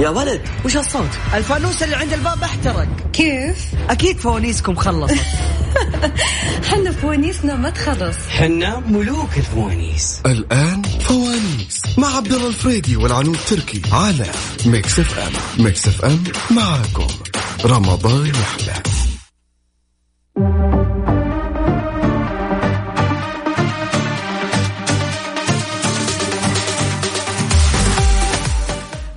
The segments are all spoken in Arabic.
يا ولد وش هالصوت؟ الفانوس اللي عند الباب احترق كيف؟ اكيد فوانيسكم خلصت حنا فوانيسنا ما تخلص حنا ملوك الفوانيس الآن فوانيس مع عبد الله الفريدي والعنود تركي على ميكس اف ام ميكس اف ام معاكم رمضان يحلى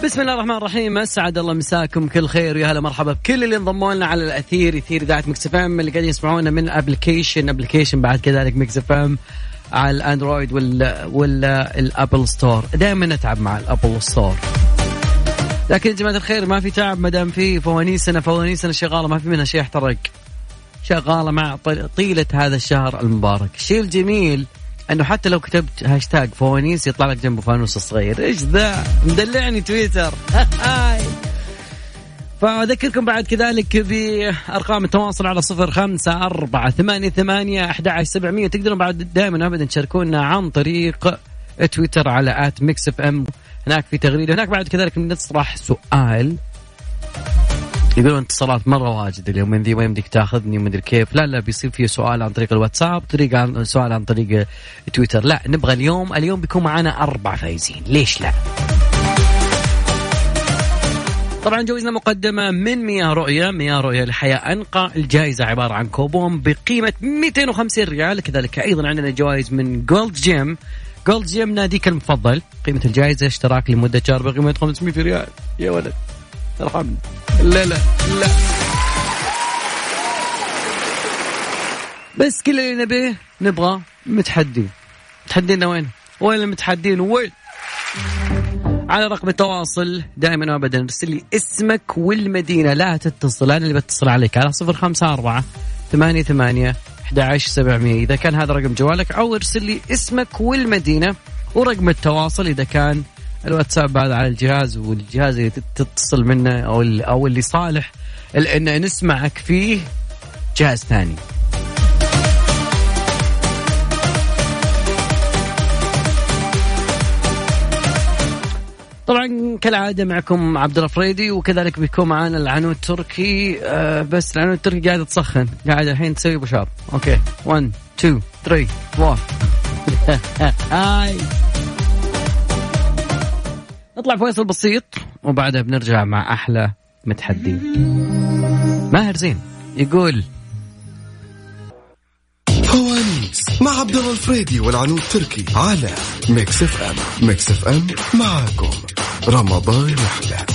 بسم الله الرحمن الرحيم اسعد الله مساكم كل خير ويا هلا مرحبا بكل اللي انضموا لنا على الاثير اثير اذاعه مكس اف ام اللي قاعدين يسمعونا من ابلكيشن ابلكيشن بعد كذلك مكس اف ام على الاندرويد وال ولا الابل ستور دائما نتعب مع الابل ستور لكن يا جماعه الخير ما في تعب ما دام في فوانيسنا فوانيسنا شغاله ما في منها شيء احترق شغاله مع طل- طيله هذا الشهر المبارك الشيء الجميل انه حتى لو كتبت هاشتاج فوانيس يطلع لك جنبه فانوس صغير ايش ذا مدلعني تويتر هاي فأذكركم بعد كذلك بأرقام التواصل على صفر خمسة أربعة ثمانية ثمانية أحد سبعمية تقدرون بعد دائما أبدا تشاركونا عن طريق تويتر على آت ميكس اف ام هناك في تغريدة هناك بعد كذلك نطرح سؤال يقولون اتصالات مره واجد اليومين ذي ما يمديك تاخذني ومدري كيف لا لا بيصير في سؤال عن طريق الواتساب طريق عن سؤال عن طريق تويتر لا نبغى اليوم اليوم بيكون معنا اربع فايزين ليش لا طبعا جوائزنا مقدمة من مياه رؤية مياه رؤية لحياة أنقى الجائزة عبارة عن كوبون بقيمة 250 ريال كذلك أيضا عندنا جوائز من جولد جيم جولد جيم ناديك المفضل قيمة الجائزة اشتراك لمدة شهر بقيمة 500 ريال يا ولد ارحمني لا لا لا بس كل اللي نبيه نبغى متحدين متحدينا وين؟ وين المتحدين وين؟ على رقم التواصل دائما وابدا ارسل لي اسمك والمدينه لا تتصل انا اللي بتصل عليك على 054 88 11700 اذا كان هذا رقم جوالك او ارسل لي اسمك والمدينه ورقم التواصل اذا كان الواتساب هذا على الجهاز والجهاز اللي تتصل منه او او اللي صالح لان نسمعك فيه جهاز ثاني طبعا كالعاده معكم عبد الله فريدي وكذلك بيكون معانا العنود التركي آه بس العنود التركي قاعده تسخن قاعده الحين تسوي بشاب اوكي 1 2 3 4 هاي نطلع فيصل بسيط وبعدها بنرجع مع احلى متحدين ماهر زين يقول فوانيس مع عبد الله الفريدي والعنود تركي على ميكس اف ام ميكس اف ام معاكم رمضان يحلى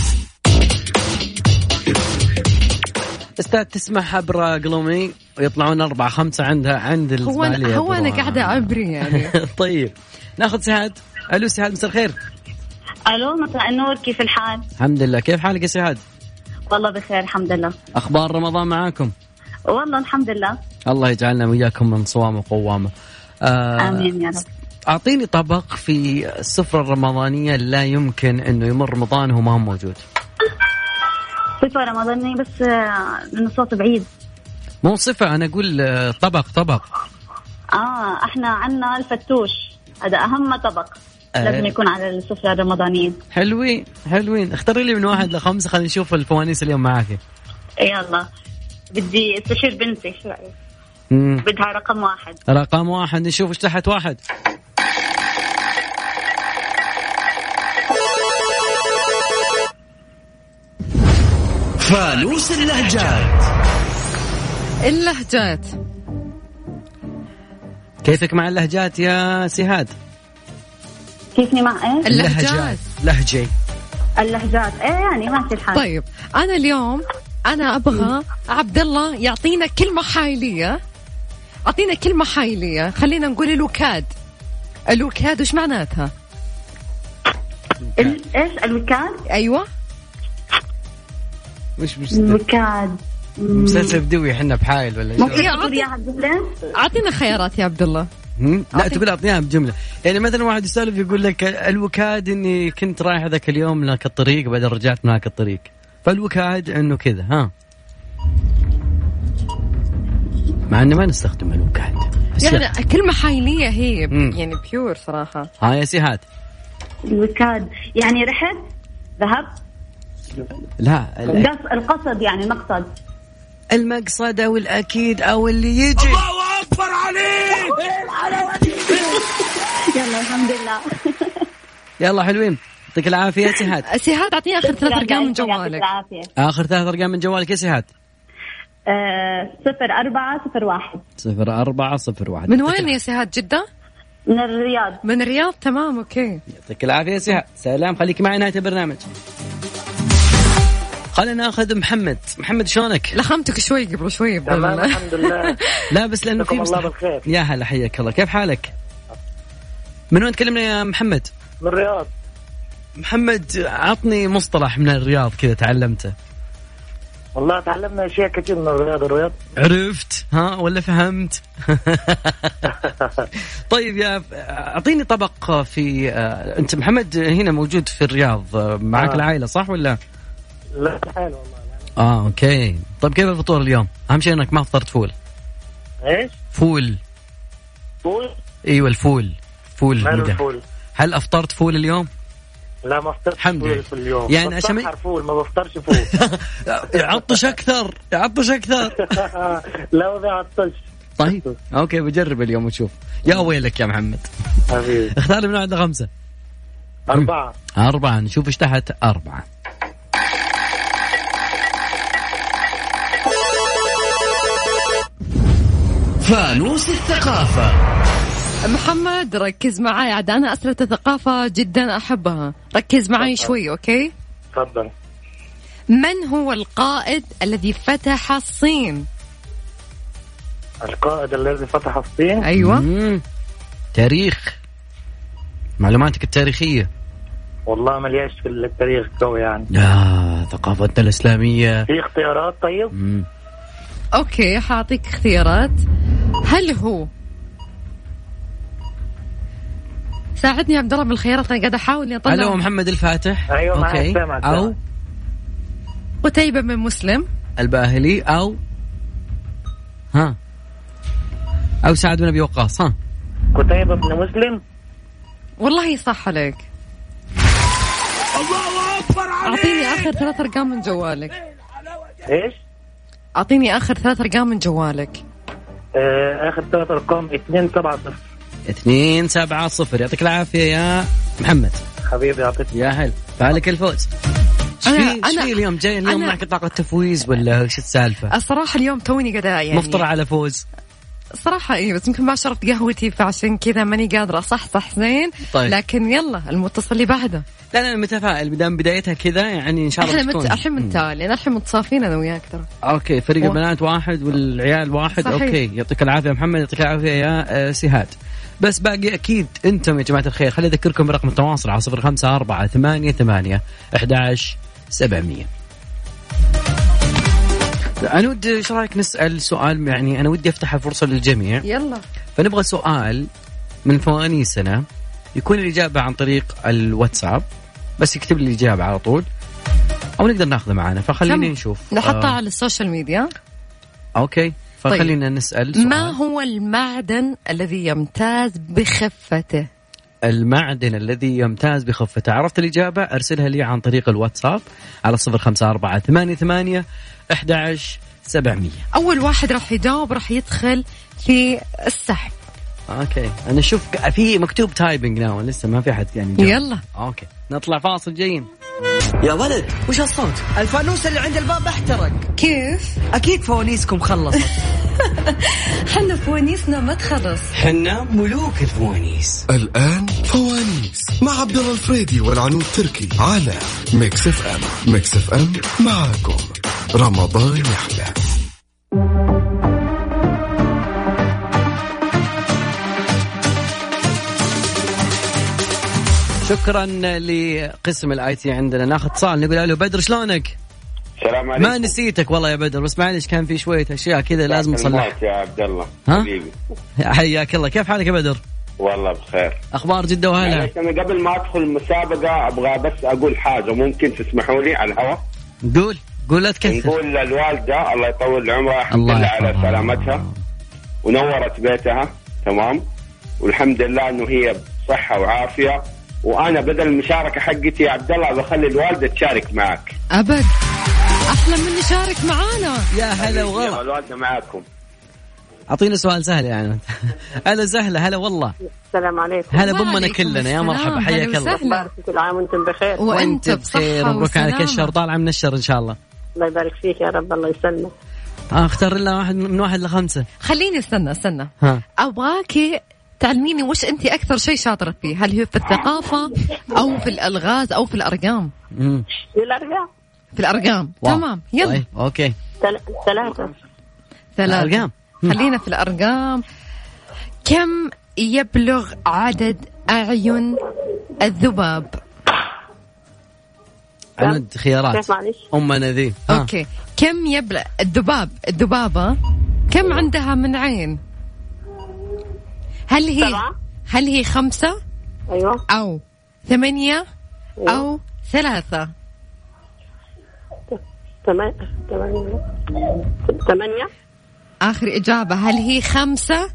استاذ تسمع حبره قلومي ويطلعون أربعة خمسة عندها عند هو الزبالية أنا هو أنا طبعاً. قاعدة أعبري يعني طيب ناخذ سهاد الو سهاد مساء الخير الو مساء النور كيف الحال؟ الحمد لله كيف حالك يا سهاد والله بخير الحمد لله اخبار رمضان معاكم والله الحمد لله الله يجعلنا وياكم من صوام وقوامه آه امين يا رب اعطيني طبق في السفره الرمضانيه لا يمكن انه يمر رمضان وهو ما هو موجود صفة رمضانية بس آه، لأنه صوت بعيد مو صفه انا اقول آه، طبق طبق اه احنا عنا الفتوش هذا اهم طبق آه. لازم يكون على السفرة الرمضانية حلوين حلوين اختاري لي من واحد لخمسه خلينا نشوف الفوانيس اليوم معاك يلا بدي استشير بنتي شو رأيك؟ مم. بدها رقم واحد رقم واحد نشوف ايش تحت واحد فانوس اللهجات اللهجات كيفك مع اللهجات يا سهاد كيفني مع ايه؟ اللهجات لهجي اللهجات ايه يعني ماشي آه. الحال طيب أنا اليوم أنا أبغى عبد الله يعطينا كلمة حايلية أعطينا كلمة حايلية خلينا نقول الوكاد الوكاد وش معناتها؟ ال- ايش الوكاد؟ أيوة وش وش الوكاد مم. مسلسل بدوي احنا بحايل ولا إيش؟ ممكن يا تقول يا عبد الله؟ أعطينا خيارات يا عبد الله هم؟ لا أعطيك. تقول اعطيها بجمله يعني مثلا واحد يسولف يقول لك الوكاد اني كنت رايح ذاك اليوم من هاك الطريق بعدين رجعت من هاك الطريق فالوكاد انه كذا ها مع انه ما نستخدم الوكاد بس يلا. يعني كلمة حايلية هي مم. يعني بيور صراحة ها يا سهاد الوكاد يعني رحت ذهبت لا الأك- قص القصد يعني المقصد المقصد او الاكيد او اللي يجي الله اكبر عليك يلا الحمد لله يلا حلوين يعطيك العافيه يا سهاد سهاد اعطيني اخر ثلاث ارقام من يعطيك جوالك العافية اخر ثلاث ارقام من جوالك يا سهاد آه، صفر أربعة صفر واحد صفر أربعة صفر واحد من وين يا سهاد جدة؟ من الرياض من الرياض تمام اوكي يعطيك العافية يا سهى سلام خليك معي نهاية البرنامج خلينا ناخذ محمد محمد شلونك؟ لخمتك شوي قبل شوي تمام بقول الحمد لله لا بس لأنه في مساكم الله مصلحة. بالخير. يا هلا حياك الله كيف حالك؟ من وين تكلمنا يا محمد؟ من الرياض محمد عطني مصطلح من الرياض كذا تعلمته والله تعلمنا اشياء كثير من الرياض الرياض عرفت ها ولا فهمت طيب يا اعطيني طبق في آه، انت محمد هنا موجود في الرياض آه، معك آه. العائله صح ولا لا حلو والله اه اوكي طيب كيف الفطور اليوم اهم شيء انك ما فطرت فول ايش؟ فول فول ايوه الفول فول ماله مدى. الفول هل افطرت فول اليوم لا ما افطرش الحمد لله. فول في اليوم يعني عشان ما- بتسحر فول ما بفطرش فول عطش اكثر عطش اكثر لا ما بيعطش طيب اوكي بجرب اليوم وشوف يا ويلك يا محمد حبيبي اختار لي من واحد لخمسه اربعه أربعة نشوف ايش تحت أربعة فانوس الثقافة محمد ركز معي عاد انا اسرة الثقافة جدا احبها ركز معي شوي اوكي تفضل من هو القائد الذي فتح الصين القائد الذي فتح الصين ايوه مم. تاريخ معلوماتك التاريخية والله ملياش في التاريخ قوي يعني لا ثقافتنا الإسلامية في اختيارات طيب مم. اوكي حاعطيك اختيارات هل هو ساعدني يا عبد الله بالخيارات انا قاعده احاول اني ألو اطلع محمد الفاتح أيوة، معك، أوكي سامعك، أو سامعك. قتيبة بن مسلم الباهلي أو ها أو سعد بن أبي وقاص ها قتيبة بن مسلم والله صح عليك اعطيني اخر ثلاث ارقام من جوالك ايش؟ اعطيني اخر ثلاث ارقام من جوالك آه اخر ثلاث ارقام 2 7 0 اثنين سبعة صفر يعطيك العافية يا محمد حبيبي يعطيك يا هل فعلك الفوز ايش في أنا- ايش أنا- في اليوم جاي اليوم أنا- معك طاقة تفويز ولا ايش السالفة؟ الصراحه اليوم توني قاعده يعني مفطرة على فوز صراحة اي بس يمكن ما شربت قهوتي فعشان كذا ماني قادرة اصحصح زين طيب. لكن يلا المتصل اللي بعده لا لا أنا متفائل مدام بدايتها كذا يعني ان شاء الله احنا بتكون مت... الحين متعالي انا الحين متصافين انا وياك ترى اوكي فريق و- البنات واحد والعيال واحد صحيح. اوكي يعطيك العافيه يا محمد يعطيك العافيه يا آه، سهاد بس باقي اكيد انتم يا جماعه الخير خليني اذكركم برقم التواصل على 054 ثمانية ثمانية 11 700 انا ودي ايش رايك نسال سؤال يعني انا ودي افتح الفرصه للجميع يلا فنبغى سؤال من فوانيسنا يكون الإجابة عن طريق الواتساب بس يكتب لي الإجابة على طول أو نقدر ناخذه معنا فخلينا كم؟ نشوف نحطها آه على السوشيال ميديا أوكي فخلينا نسأل سؤال طيب. ما هو المعدن الذي يمتاز بخفته المعدن الذي يمتاز بخفته عرفت الإجابة أرسلها لي عن طريق الواتساب على صفر خمسة أربعة ثمانية ثمانية أحد سبعمية اول واحد راح يجاوب راح يدخل في السحب أوكي أنا أشوف في مكتوب تايبنج ناو لسه ما في حد يعني جاوب. يلا أوكي نطلع فاصل جايين يا ولد وش هالصوت؟ الفانوس اللي عند الباب احترق كيف اكيد فوانيسكم خلصت حنا فوانيسنا ما تخلص حنا ملوك الفوانيس الآن فوانيس مع عبد الله الفريدي والعنود تركي على ميكس اف ام ميكس اف ام معكم رمضان يحلى شكرا لقسم الاي تي عندنا ناخذ اتصال نقول الو بدر شلونك؟ السلام عليكم ما نسيتك والله يا بدر بس معلش كان في شويه اشياء كذا الله لازم نصلحها يسلمك يا عبد الله ها؟ حبيبي حياك الله كيف حالك يا بدر؟ والله بخير اخبار جده وهلا معلش انا قبل ما ادخل المسابقه ابغى بس اقول حاجه ممكن تسمحوا لي على الهواء قول قول لا تكثر نقول للوالده الله يطول عمرها الحمد الله لله على يحفظها. سلامتها ونورت بيتها تمام والحمد لله انه هي بصحه وعافيه وانا بدل المشاركه حقتي يا عبد الله بخلي الوالده تشارك معك ابد احلى من يشارك معانا يا هلا يلا وغلا الوالده معاكم اعطينا سؤال سهل يعني هلا سهله هلا والله السلام عليكم هلا بامنا وعليكم كلنا يا السلام، مرحبا هلا حياك الله وسهلا. بارك كل عام وانتم بخير وانت بصحة مبروك عليك وسلامة. الشهر طالعه من الشهر ان شاء الله الله يبارك فيك يا رب الله يسلمك آه، اختار لنا واحد من واحد لخمسه خليني استنى استنى ها. ابغاكي تعلميني وش انت اكثر شيء شاطره فيه هل هي في الثقافه او في الالغاز او في الارقام مم. للأرقام في الارقام واو. تمام يلا طيب اوكي ثل- ثلاثة ثلاثة الأرقام. مم. خلينا في الارقام كم يبلغ عدد اعين الذباب عندنا خيارات كيف معلش امنا ذي ها. اوكي كم يبلغ الذباب الذبابه كم عندها من عين هل هي سبعة. هل هي خمسه أيوة او ثمانيه او ثلاثه ثمان- ثمانية ثمانية آخر إجابة هل هي خمسة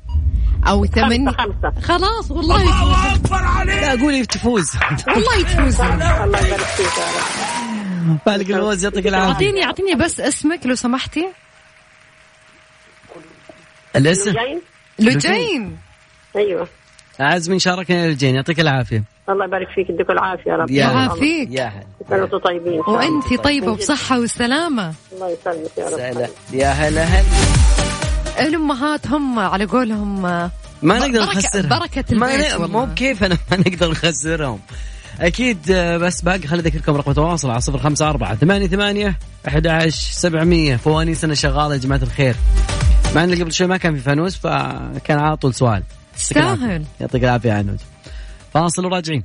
أو ثمانية خمسة. خلاص والله يفوز لا قولي تفوز والله يفوز الله يبارك فيك يا رب مالك الفوز يعطيك العافيه أعطيني أعطيني بس اسمك لو سمحتي الاسم جاي لجين أيوة عزم من شاركنا الجين يعطيك العافيه الله يبارك فيك يديك العافية يا رب يا هلا. عافيك يا هلا كلكم وانتم طيبين وأنت طيبة وبصحة وسلامة الله يسلمك يا رب سهلة. يا هلا هلا الأمهات هم على قولهم آه، ما نقدر بركة- نخسرها بركة ما البيت ن- والله. مو بكيفنا ما نقدر نخسرهم اكيد آه، بس باقي خليني اذكركم رقم التواصل على 054 88 11700 فوانيسنا شغاله يا جماعه الخير مع ان قبل شوي ما كان في فانوس فكان على طول سؤال يعطيك العافية. تستاهل يعطيك العافيه يا عنود فاصل وراجعين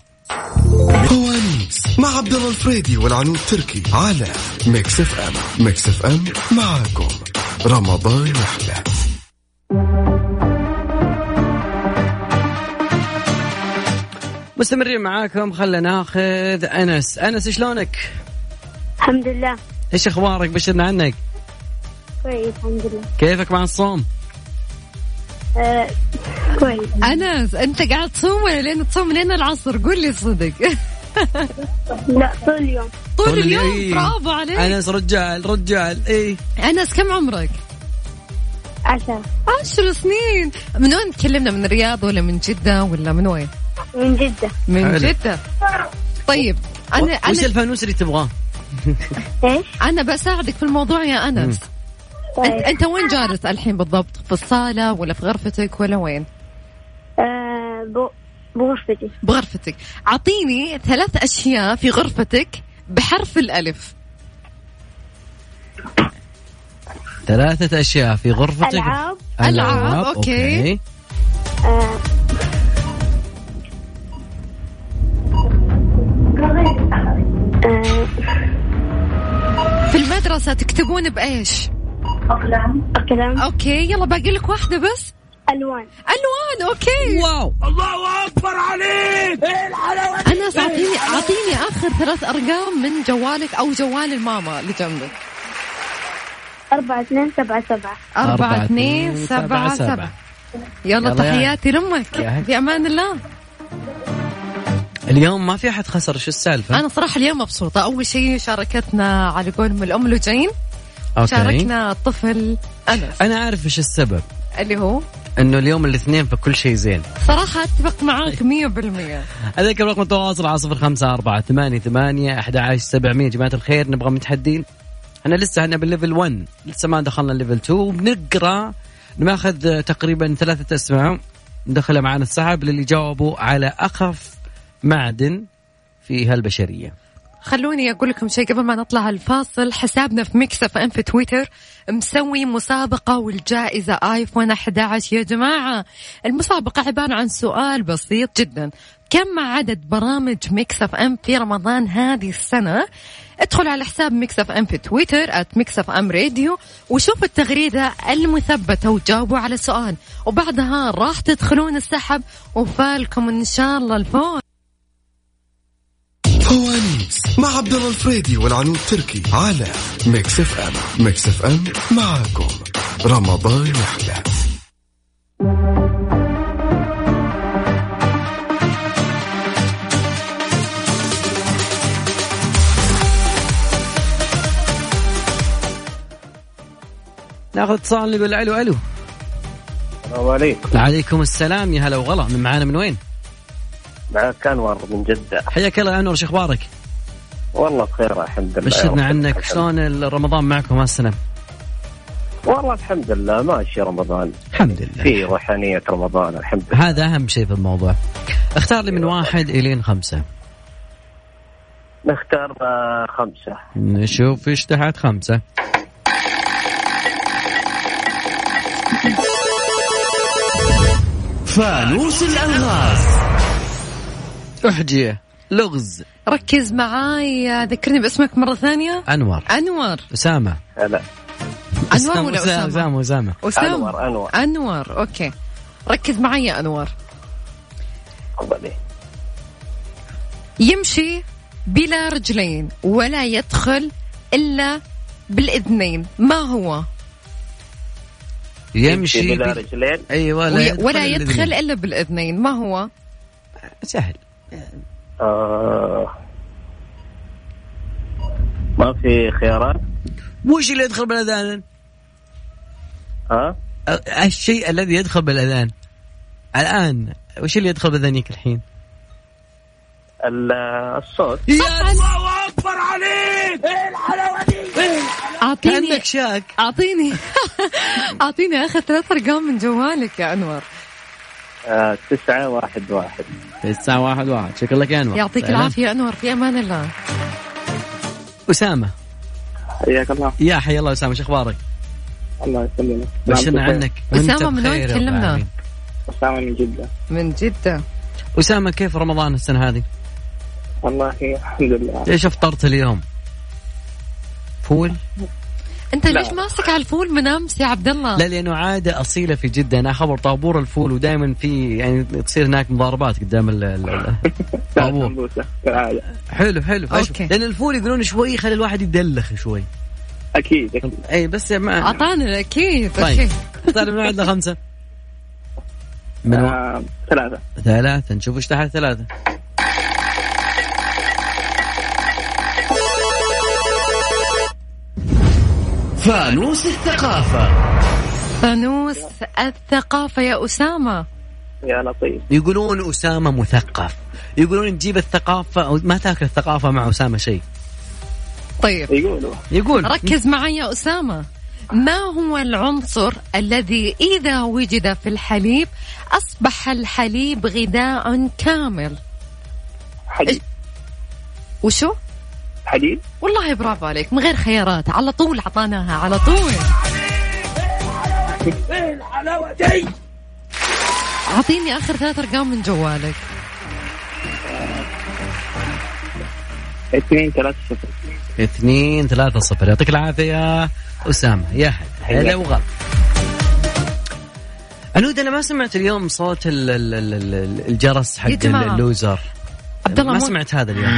فوانيس مع عبد الله الفريدي والعنود تركي على ميكس اف ام ميكس اف ام معاكم رمضان يحلى مستمرين معاكم خلينا ناخذ انس انس شلونك الحمد لله ايش اخبارك بشرنا عنك كويس الحمد لله كيفك مع الصوم آه، كويس أنس أنت قاعد تصوم ولا لين تصوم لين العصر قول لي صدق لا طول اليوم طول طول اليوم. اليوم برافو عليك انس إيه. رجال رجال إيه. اي أنس كم عمرك؟ عشرة عشر سنين من وين تكلمنا من الرياض ولا من جدة ولا من وين؟ من جدة من حلو. جدة طيب أنا وش أنا الفانوس اللي تبغاه ايش؟ أنا بساعدك في الموضوع يا أنس أنت, أنت وين جالس الحين بالضبط في الصالة ولا في غرفتك ولا وين آه، بو- بغرفتي بغرفتك أعطيني ثلاث أشياء في غرفتك بحرف الألف ثلاثة أشياء في غرفتك ألعاب. ألعاب، أوكي. آه، آه، في المدرسة تكتبون بإيش أقلام أوكي يلا باقي لك واحدة بس ألوان ألوان أوكي واو أنس أعطيني أعطيني آخر ثلاث أرقام من جوالك أو جوال الماما اللي جنبك أربعة اثنين سبعة سبعة أربعة اثنين سبعة سبعة يلا يلا تحياتي يا لأمك هلا. في أمان الله اليوم ما في أحد خسر شو السالفة انا صراحه اليوم مبسوطه اول شيء شاركتنا على قولهم الام لجين أوكي. شاركنا الطفل انس أنا عارف إيش السبب اللي هو انه اليوم الاثنين فكل شيء زين صراحه اتفق معاك طيب. 100% اذكر رقم التواصل على صفر خمسة أربعة ثمانية ثمانية أحد عشر سبعمية جماعة الخير نبغى متحدين احنا لسه احنا بالليفل 1 لسه ما دخلنا الليفل 2 وبنقرا بناخذ تقريبا ثلاثة اسماء ندخلها معانا السحب للي جاوبوا على اخف معدن في هالبشرية خلوني اقول لكم شيء قبل ما نطلع على الفاصل حسابنا في ميكس اف ام في تويتر مسوي مسابقه والجائزه ايفون 11 يا جماعه المسابقه عباره عن سؤال بسيط جدا كم عدد برامج ميكس اف ام في رمضان هذه السنه ادخل على حساب ميكس اف ام في تويتر ات ميكس اف ام راديو وشوف التغريده المثبته وجاوبوا على سؤال وبعدها راح تدخلون السحب وفالكم ان شاء الله الفوز فوانيس مع عبد الله الفريدي والعنود تركي على ميكس اف ام ميكس اف ام معاكم رمضان يحلى ناخذ اتصال نقول الو الو السلام عليكم عليكم السلام يا هلا وغلا من معانا من وين؟ معك انور من جده حياك الله يا انور شو اخبارك؟ والله بخير الحمد لله يا رب بشرنا عنك العالمين. شلون رمضان معكم هالسنه؟ والله الحمد لله ماشي رمضان الحمد لله في روحانيه رمضان الحمد لله هذا اهم شيء في الموضوع اختار لي من واحد الين خمسه نختار آه، خمسه نشوف ايش تحت خمسة فانوس الالغاز احجية لغز ركز معاي ذكرني باسمك مرة ثانية انور أنور اسامة هلا أنور ولا أسامة أسامة؟ اسامة اسامة أسامة أنور، أنور. أنور أوكي ركز معي يا أنور تفضلي يمشي بلا رجلين ولا يدخل إلا بالإذنين ما هو يمشي بلا بال- رجلين ايوه لا ولا, ولا الإذن. يدخل إلا بالإذنين ما هو سهل آه. ما في خيارات وش اللي يدخل بالاذان؟ ها أ- الشيء الذي يدخل بالاذان الان وش اللي يدخل باذنيك الحين؟ ال- الصوت أعطيني كانك شاك أعطيني أعطيني آخر ثلاث أرقام من جوالك يا أنور آه، تسعة واحد واحد الساعة واحد واحد شكرا لك يا انور يعطيك سلام. العافية يا أنور في أمان الله اسامة حياك الله يا حي الله اسامة شو اخبارك؟ الله يسلمك نعم، بشرنا عنك وأنت أسامة، من وين بخير يا رب تكلمنا؟ العالمين. أسامة من جدة من جدة اسامة كيف رمضان السنة هذه؟ والله الحمد لله ايش افطرت اليوم؟ فول؟ أنت ليش ماسك على الفول من أمس يا عبد الله لا لانه عاده اصيله في جده انا خبر طابور الفول ودائما في يعني تصير هناك مضاربات قدام ال- ال- ال- الطابور سمبوسة كالعادة حلو حلو أوكي. لان الفول يقولون شوي خلي الواحد يدلخ شوي أكيد أكيد. اي بس ما أعطانا أكيد طيب أوكي طيب من واحد لخمسه من و... آه، ثلاثة ثلاثة نشوف ايش تحت ثلاثة فانوس الثقافة فانوس الثقافة يا أسامة يا لطيف يقولون أسامة مثقف يقولون تجيب الثقافة أو ما تاكل الثقافة مع أسامة شيء طيب يقولوا يقول ركز معي يا أسامة ما هو العنصر الذي إذا وجد في الحليب أصبح الحليب غذاء كامل حديد وشو؟ حديد والله برافو عليك من غير خيارات على طول عطاناها على طول اعطيني اخر ثلاث ارقام من جوالك اثنين ثلاثة صفر اثنين ثلاثة صفر يعطيك العافية يا أسامة يا هلا هلا وغلا عنود أنا ما سمعت اليوم صوت ال ال ال ال الجرس حق يا جماعة. اللوزر عبد الله ما مو- سمعت هذا اليوم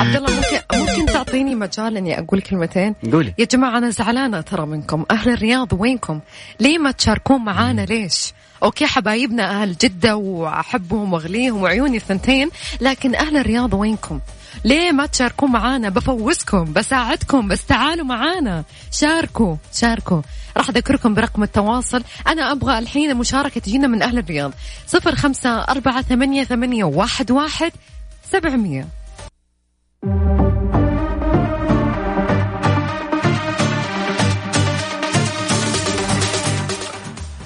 عبد الله ممكن ممكن تعطيني مجال اني اقول كلمتين قولي يا جماعة أنا زعلانة ترى منكم أهل الرياض وينكم ليه ما تشاركون معانا ليش أوكي حبايبنا أهل جدة وأحبهم وأغليهم وعيوني الثنتين لكن أهل الرياض وينكم ليه ما تشاركون معانا بفوزكم بساعدكم بس تعالوا معانا شاركوا شاركوا راح أذكركم برقم التواصل أنا أبغى الحين مشاركة تجينا من أهل الرياض صفر خمسة أربعة ثمانية ثمانية واحد واحد سبعمية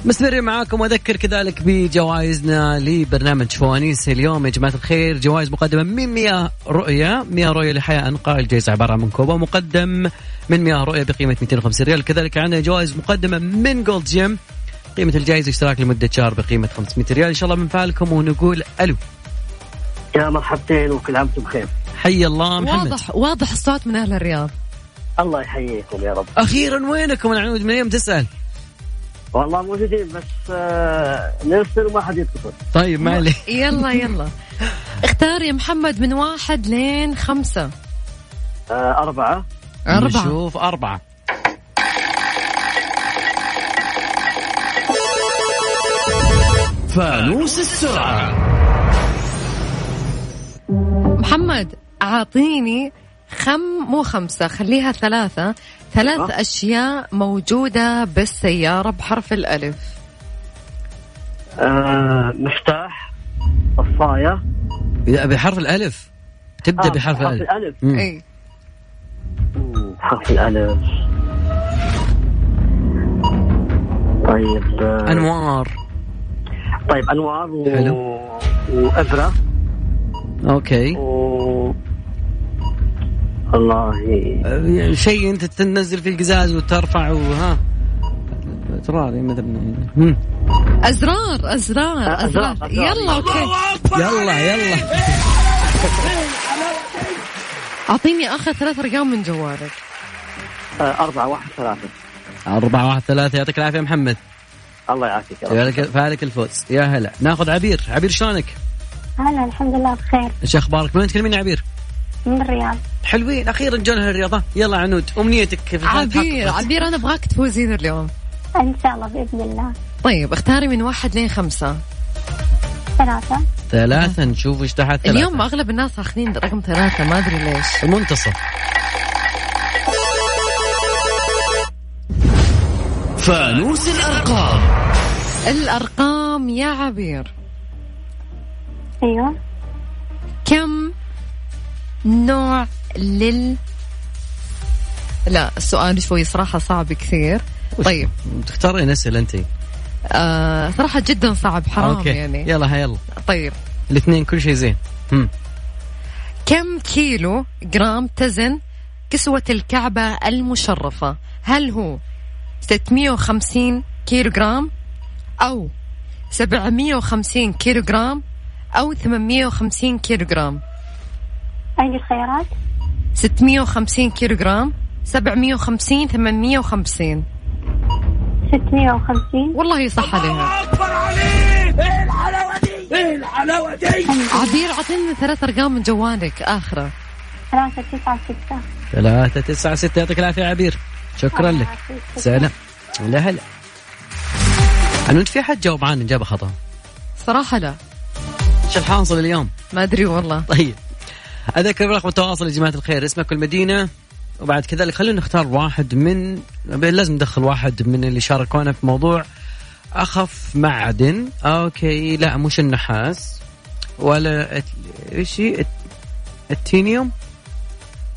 مستمرين معاكم واذكر كذلك بجوائزنا لبرنامج فوانيس اليوم يا جماعه الخير جوائز مقدمه من 100 رؤيه 100 رؤيه لحياه انقى الجائزه عباره عن كوبا مقدم من 100 رؤيه بقيمه 250 ريال كذلك عندنا جوائز مقدمه من جولد جيم قيمه الجائزه اشتراك لمده شهر بقيمه 500 ريال ان شاء الله من فعلكم ونقول الو يا مرحبتين وكل عام وانتم بخير حي الله محمد واضح واضح الصوت من أهل الرياض الله يحييكم يا رب اخيرا وينكم العنود من يوم تسال والله موجودين بس آه، نرسل وما حد يتصل طيب ما عليك يلا يلا اختار يا محمد من واحد لين خمسة آه، أربعة أربعة نشوف أربعة فانوس السرعة محمد أعطيني خم مو خمسة خليها ثلاثة ثلاث أيوة. أشياء موجودة بالسيارة بحرف الألف آه مفتاح صفاية لا، بحرف الالف تبدا آه، بحرف بحرف الالف الألف مم. أي مم، حرف الألف طيب آه، انوار طيب أنوار و... حلو. وأبرة اوكي و... الله آه، شيء انت تنزل في القزاز وترفع وها تراري مثلا مم. أزرار أزرار أزرار، أزرار أزرار. يلا أوكي يلا يلا أعطيني آخر ثلاث أرقام من جوالك آه، أربعة واحد ثلاثة أربعة واحد ثلاثة يعطيك العافية يا محمد الله يعافيك يا رب. فالك فالك الفوز يا هلا ناخذ عبير عبير شلونك؟ هلا الحمد لله بخير ايش اخبارك؟ من وين تكلمين يا عبير؟ من الرياض حلوين اخيرا جونا الرياضة يلا عنود امنيتك في الفوز عبير تحققت. عبير أنا أبغاك تفوزين اليوم ان شاء الله باذن الله طيب اختاري من واحد لين خمسة ثلاثة ثلاثة نشوف ايش تحت ثلاثة اليوم أغلب الناس أخذين رقم ثلاثة ما أدري ليش المنتصف فانوس الأرقام الأرقام يا عبير ايوه كم نوع لل لا السؤال شوي صراحة صعب كثير طيب تختارين اسئلة انت آه صراحة جدا صعب حرام أوكي. يعني يلا ها يلا طيب الاثنين كل شيء زين هم. كم كيلو جرام تزن كسوة الكعبة المشرفة هل هو 650 كيلو جرام أو 750 كيلو جرام أو 850 كيلو جرام اي الخيارات 650 كيلو جرام 750 850 650 والله صح عليها عبير عطينا ثلاث ارقام من جوالك اخره 3 9 6 ثلاثة تسعة ستة يعطيك العافية يا عبير شكرا لك سلام لا هلا عنود في حد جاوب عن إجابة خطأ صراحه لا ايش الحاصل اليوم ما ادري والله طيب اذكر رقم التواصل يا جماعه الخير اسمك والمدينه وبعد كذلك خلونا نختار واحد من لازم ندخل واحد من اللي شاركونا في موضوع اخف معدن اوكي لا مش النحاس ولا ات- ايش هي؟ ات- التينيوم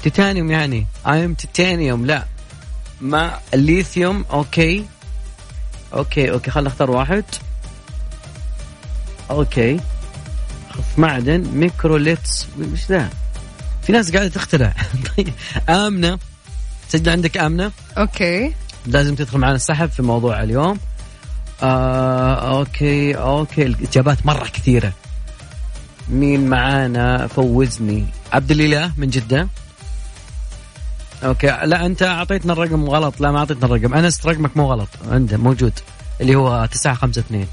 تيتانيوم يعني اي ام تيتانيوم لا ما الليثيوم اوكي اوكي اوكي خلنا نختار واحد اوكي في معدن ميكروليتس وش ذا؟ في ناس قاعده تخترع طيب امنه سجل عندك امنه اوكي لازم تدخل معنا السحب في موضوع اليوم آه اوكي اوكي الاجابات مره كثيره مين معانا فوزني عبد الاله من جده اوكي لا انت اعطيتنا الرقم غلط لا ما اعطيتنا الرقم انس رقمك مو غلط عنده موجود اللي هو 952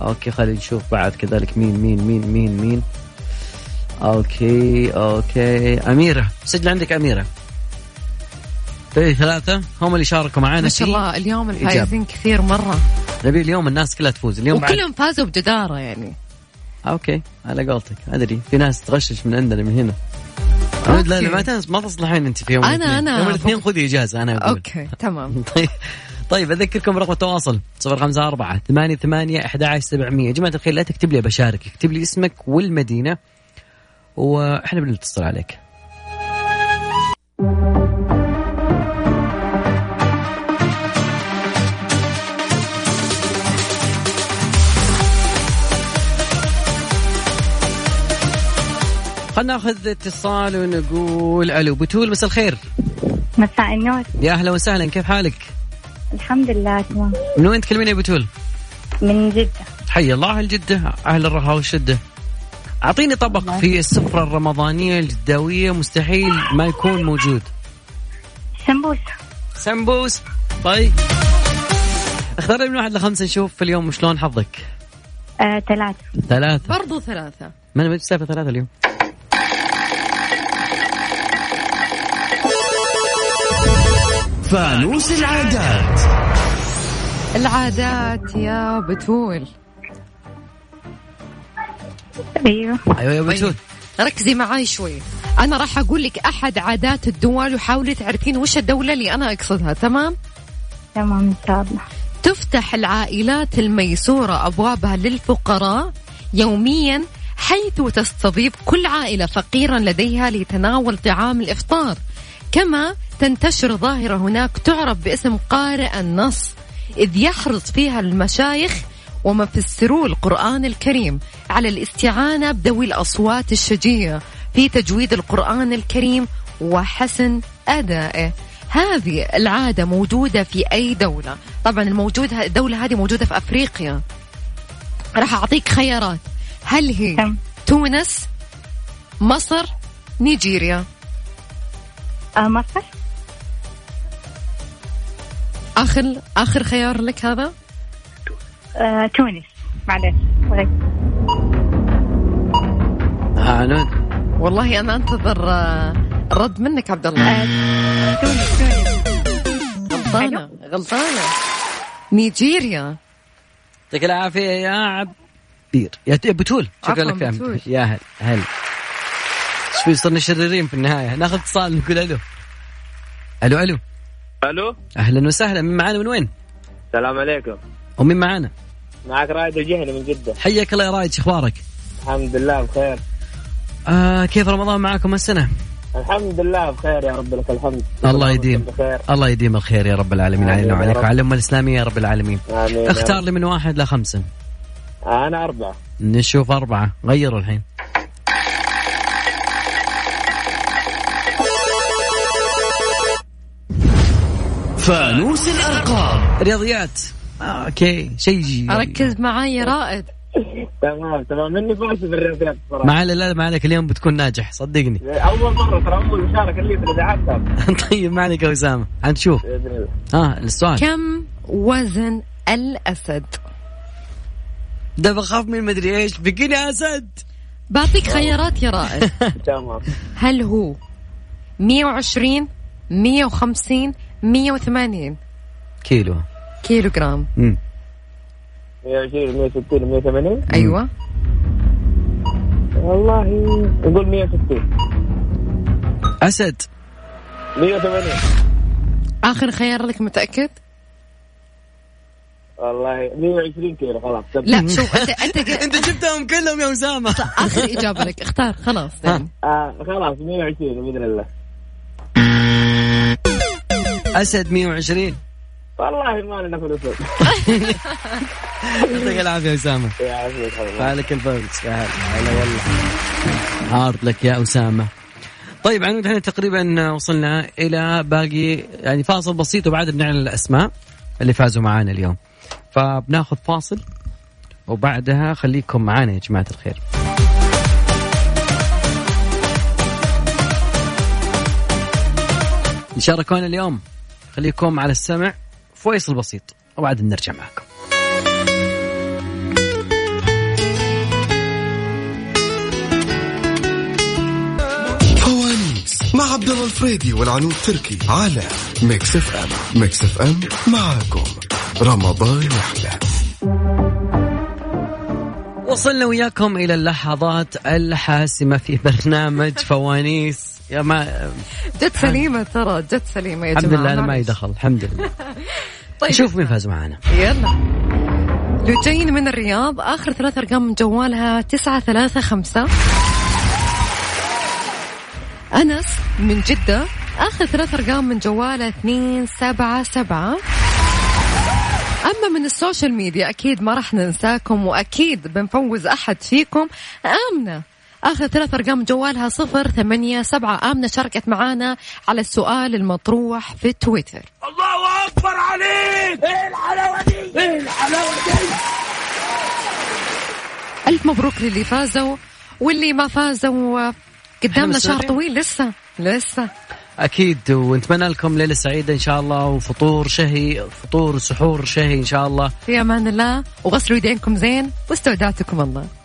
اوكي خلينا نشوف بعد كذلك مين مين مين مين مين اوكي اوكي اميره سجل عندك اميره طيب ثلاثة هم اللي شاركوا معانا ما شاء في- الله اليوم الفايزين كثير مره نبي اليوم الناس كلها تفوز اليوم بعد... وكلهم فازوا بجداره يعني اوكي على قولتك ادري في ناس تغشش من عندنا من هنا عمود لا لا ما تنس ما تصلحين انت في يوم أنا- الاثنين أنا يوم أبغى- الاثنين خذي اجازه انا اقول اوكي تمام طيب طيب اذكركم برقم التواصل 054 88 11700 يا جماعه الخير لا تكتب لي بشارك اكتب لي اسمك والمدينه واحنا بنتصل عليك خلنا ناخذ اتصال ونقول الو بتول مساء الخير مساء النور يا اهلا وسهلا كيف حالك؟ الحمد لله تمام من وين تكلمين يا بتول؟ من جدة حي الله اهل جده اهل الرخاء والشده اعطيني طبق في السفره الرمضانيه الجداويه مستحيل ما يكون موجود سمبوسة سمبوس طيب اختار لي من واحد لخمسه نشوف في اليوم شلون حظك آه، ثلاثة ثلاثه برضو ثلاثه ما انا بدي سالفه ثلاثه اليوم فانوس العادات العادات يا بتول ايوه أيوة. ايوه يا بتول ركزي معاي شوي انا راح اقول لك احد عادات الدول وحاولي تعرفين وش الدوله اللي انا اقصدها تمام تمام ان شاء الله تفتح العائلات الميسورة أبوابها للفقراء يوميا حيث تستضيف كل عائلة فقيرا لديها لتناول طعام الإفطار كما تنتشر ظاهرة هناك تعرف باسم قارئ النص إذ يحرص فيها المشايخ ومفسرو القرآن الكريم على الاستعانة بذوي الأصوات الشجية في تجويد القرآن الكريم وحسن أدائه هذه العادة موجودة في أي دولة طبعا الموجود الدولة هذه موجودة في أفريقيا راح أعطيك خيارات هل هي تم. تونس مصر نيجيريا آه، مصر آخر آخر خيار لك هذا آه، تونس معلش غير. ها عنود والله أنا أنتظر آه، رد منك عبد الله آه، تونس تونس غلطانة غلطانة نيجيريا يعطيك العافيه يا عبير يا ت- بتول شكرا عفواً، لك يا بتول. عبير. يا هلا هلا ايش في صرنا شريرين في النهايه ناخذ اتصال نقول الو الو الو الو اهلا وسهلا من معانا من وين؟ السلام عليكم ومين معانا؟ معك رائد الجهني من جده حياك الله يا رايد شو اخبارك؟ الحمد لله بخير آه كيف رمضان معاكم هالسنه؟ الحمد لله بخير يا رب لك الحمد الله يديم بخير الله يديم الخير يا رب العالمين آمين علينا يا وعليك رب. وعلى الامه الاسلاميه يا رب العالمين آمين يا اختار رب. لي من واحد لخمسه انا اربعه نشوف أربعة غيروا الحين فانوس الأرقام رياضيات آه، اوكي شيء ركز معي يا رائد تمام تمام مني فاشل في الرياضيات بصراحه ما علي لا ما عليك اليوم بتكون ناجح صدقني اول مره ترى اول مشاركه لي في الاذاعات ترى. طيب ما عليك يا أسامة حنشوف باذن الله ها السؤال كم وزن الأسد ده بخاف من مدري ايش بقيني أسد بعطيك خيارات يا رائد تمام هل هو 120 150 180 كيلو كيلو جرام مم. 120 160 180 ايوه والله نقول 160 أسد 180 اخر خيار لك متاكد والله 120 كيلو خلاص تمام. لا شوف انت انت ج- أنت جبتهم كلهم يا أسامة اخر اجابه لك اختار خلاص يعني. Ah, آه خلاص 120 باذن الله أسد 120 والله ما لنا فلوس يعطيك العافية يا أسامة يا Ya, عزيز حبيبي. فالك الفوز يا هلا هلا والله هارد لك يا أسامة طيب عنود احنا تقريبا وصلنا إلى باقي يعني فاصل بسيط وبعد بنعلن الأسماء اللي فازوا معانا اليوم فبناخذ فاصل وبعدها خليكم معانا يا جماعة الخير شاركونا اليوم خليكم على السمع فيصل بسيط وبعد نرجع معكم فوانيس مع عبد الله الفريدي والعنود تركي على ميكس اف ام ميكس اف ام معاكم رمضان يحلى وصلنا وياكم الى اللحظات الحاسمه في برنامج فوانيس يا ما جت سليمه ترى جت سليمه يا الحمد جماعه لله انا ما معلش. يدخل الحمد لله طيب شوف مين فاز معانا يلا لوجين من الرياض اخر ثلاث ارقام من جوالها تسعة ثلاثة خمسة انس من جدة اخر ثلاث ارقام من جواله اثنين سبعة سبعة اما من السوشيال ميديا اكيد ما راح ننساكم واكيد بنفوز احد فيكم امنه اخر ثلاث ارقام من جوالها صفر ثمانية سبعة امنه شاركت معانا على السؤال المطروح في تويتر ألف مبروك للي فازوا واللي ما فازوا قدامنا شهر مسؤولين. طويل لسه لسه اكيد ونتمنى لكم ليله سعيده ان شاء الله وفطور شهي فطور سحور شهي ان شاء الله في أمان الله وغسلوا يدينكم زين واستودعتكم الله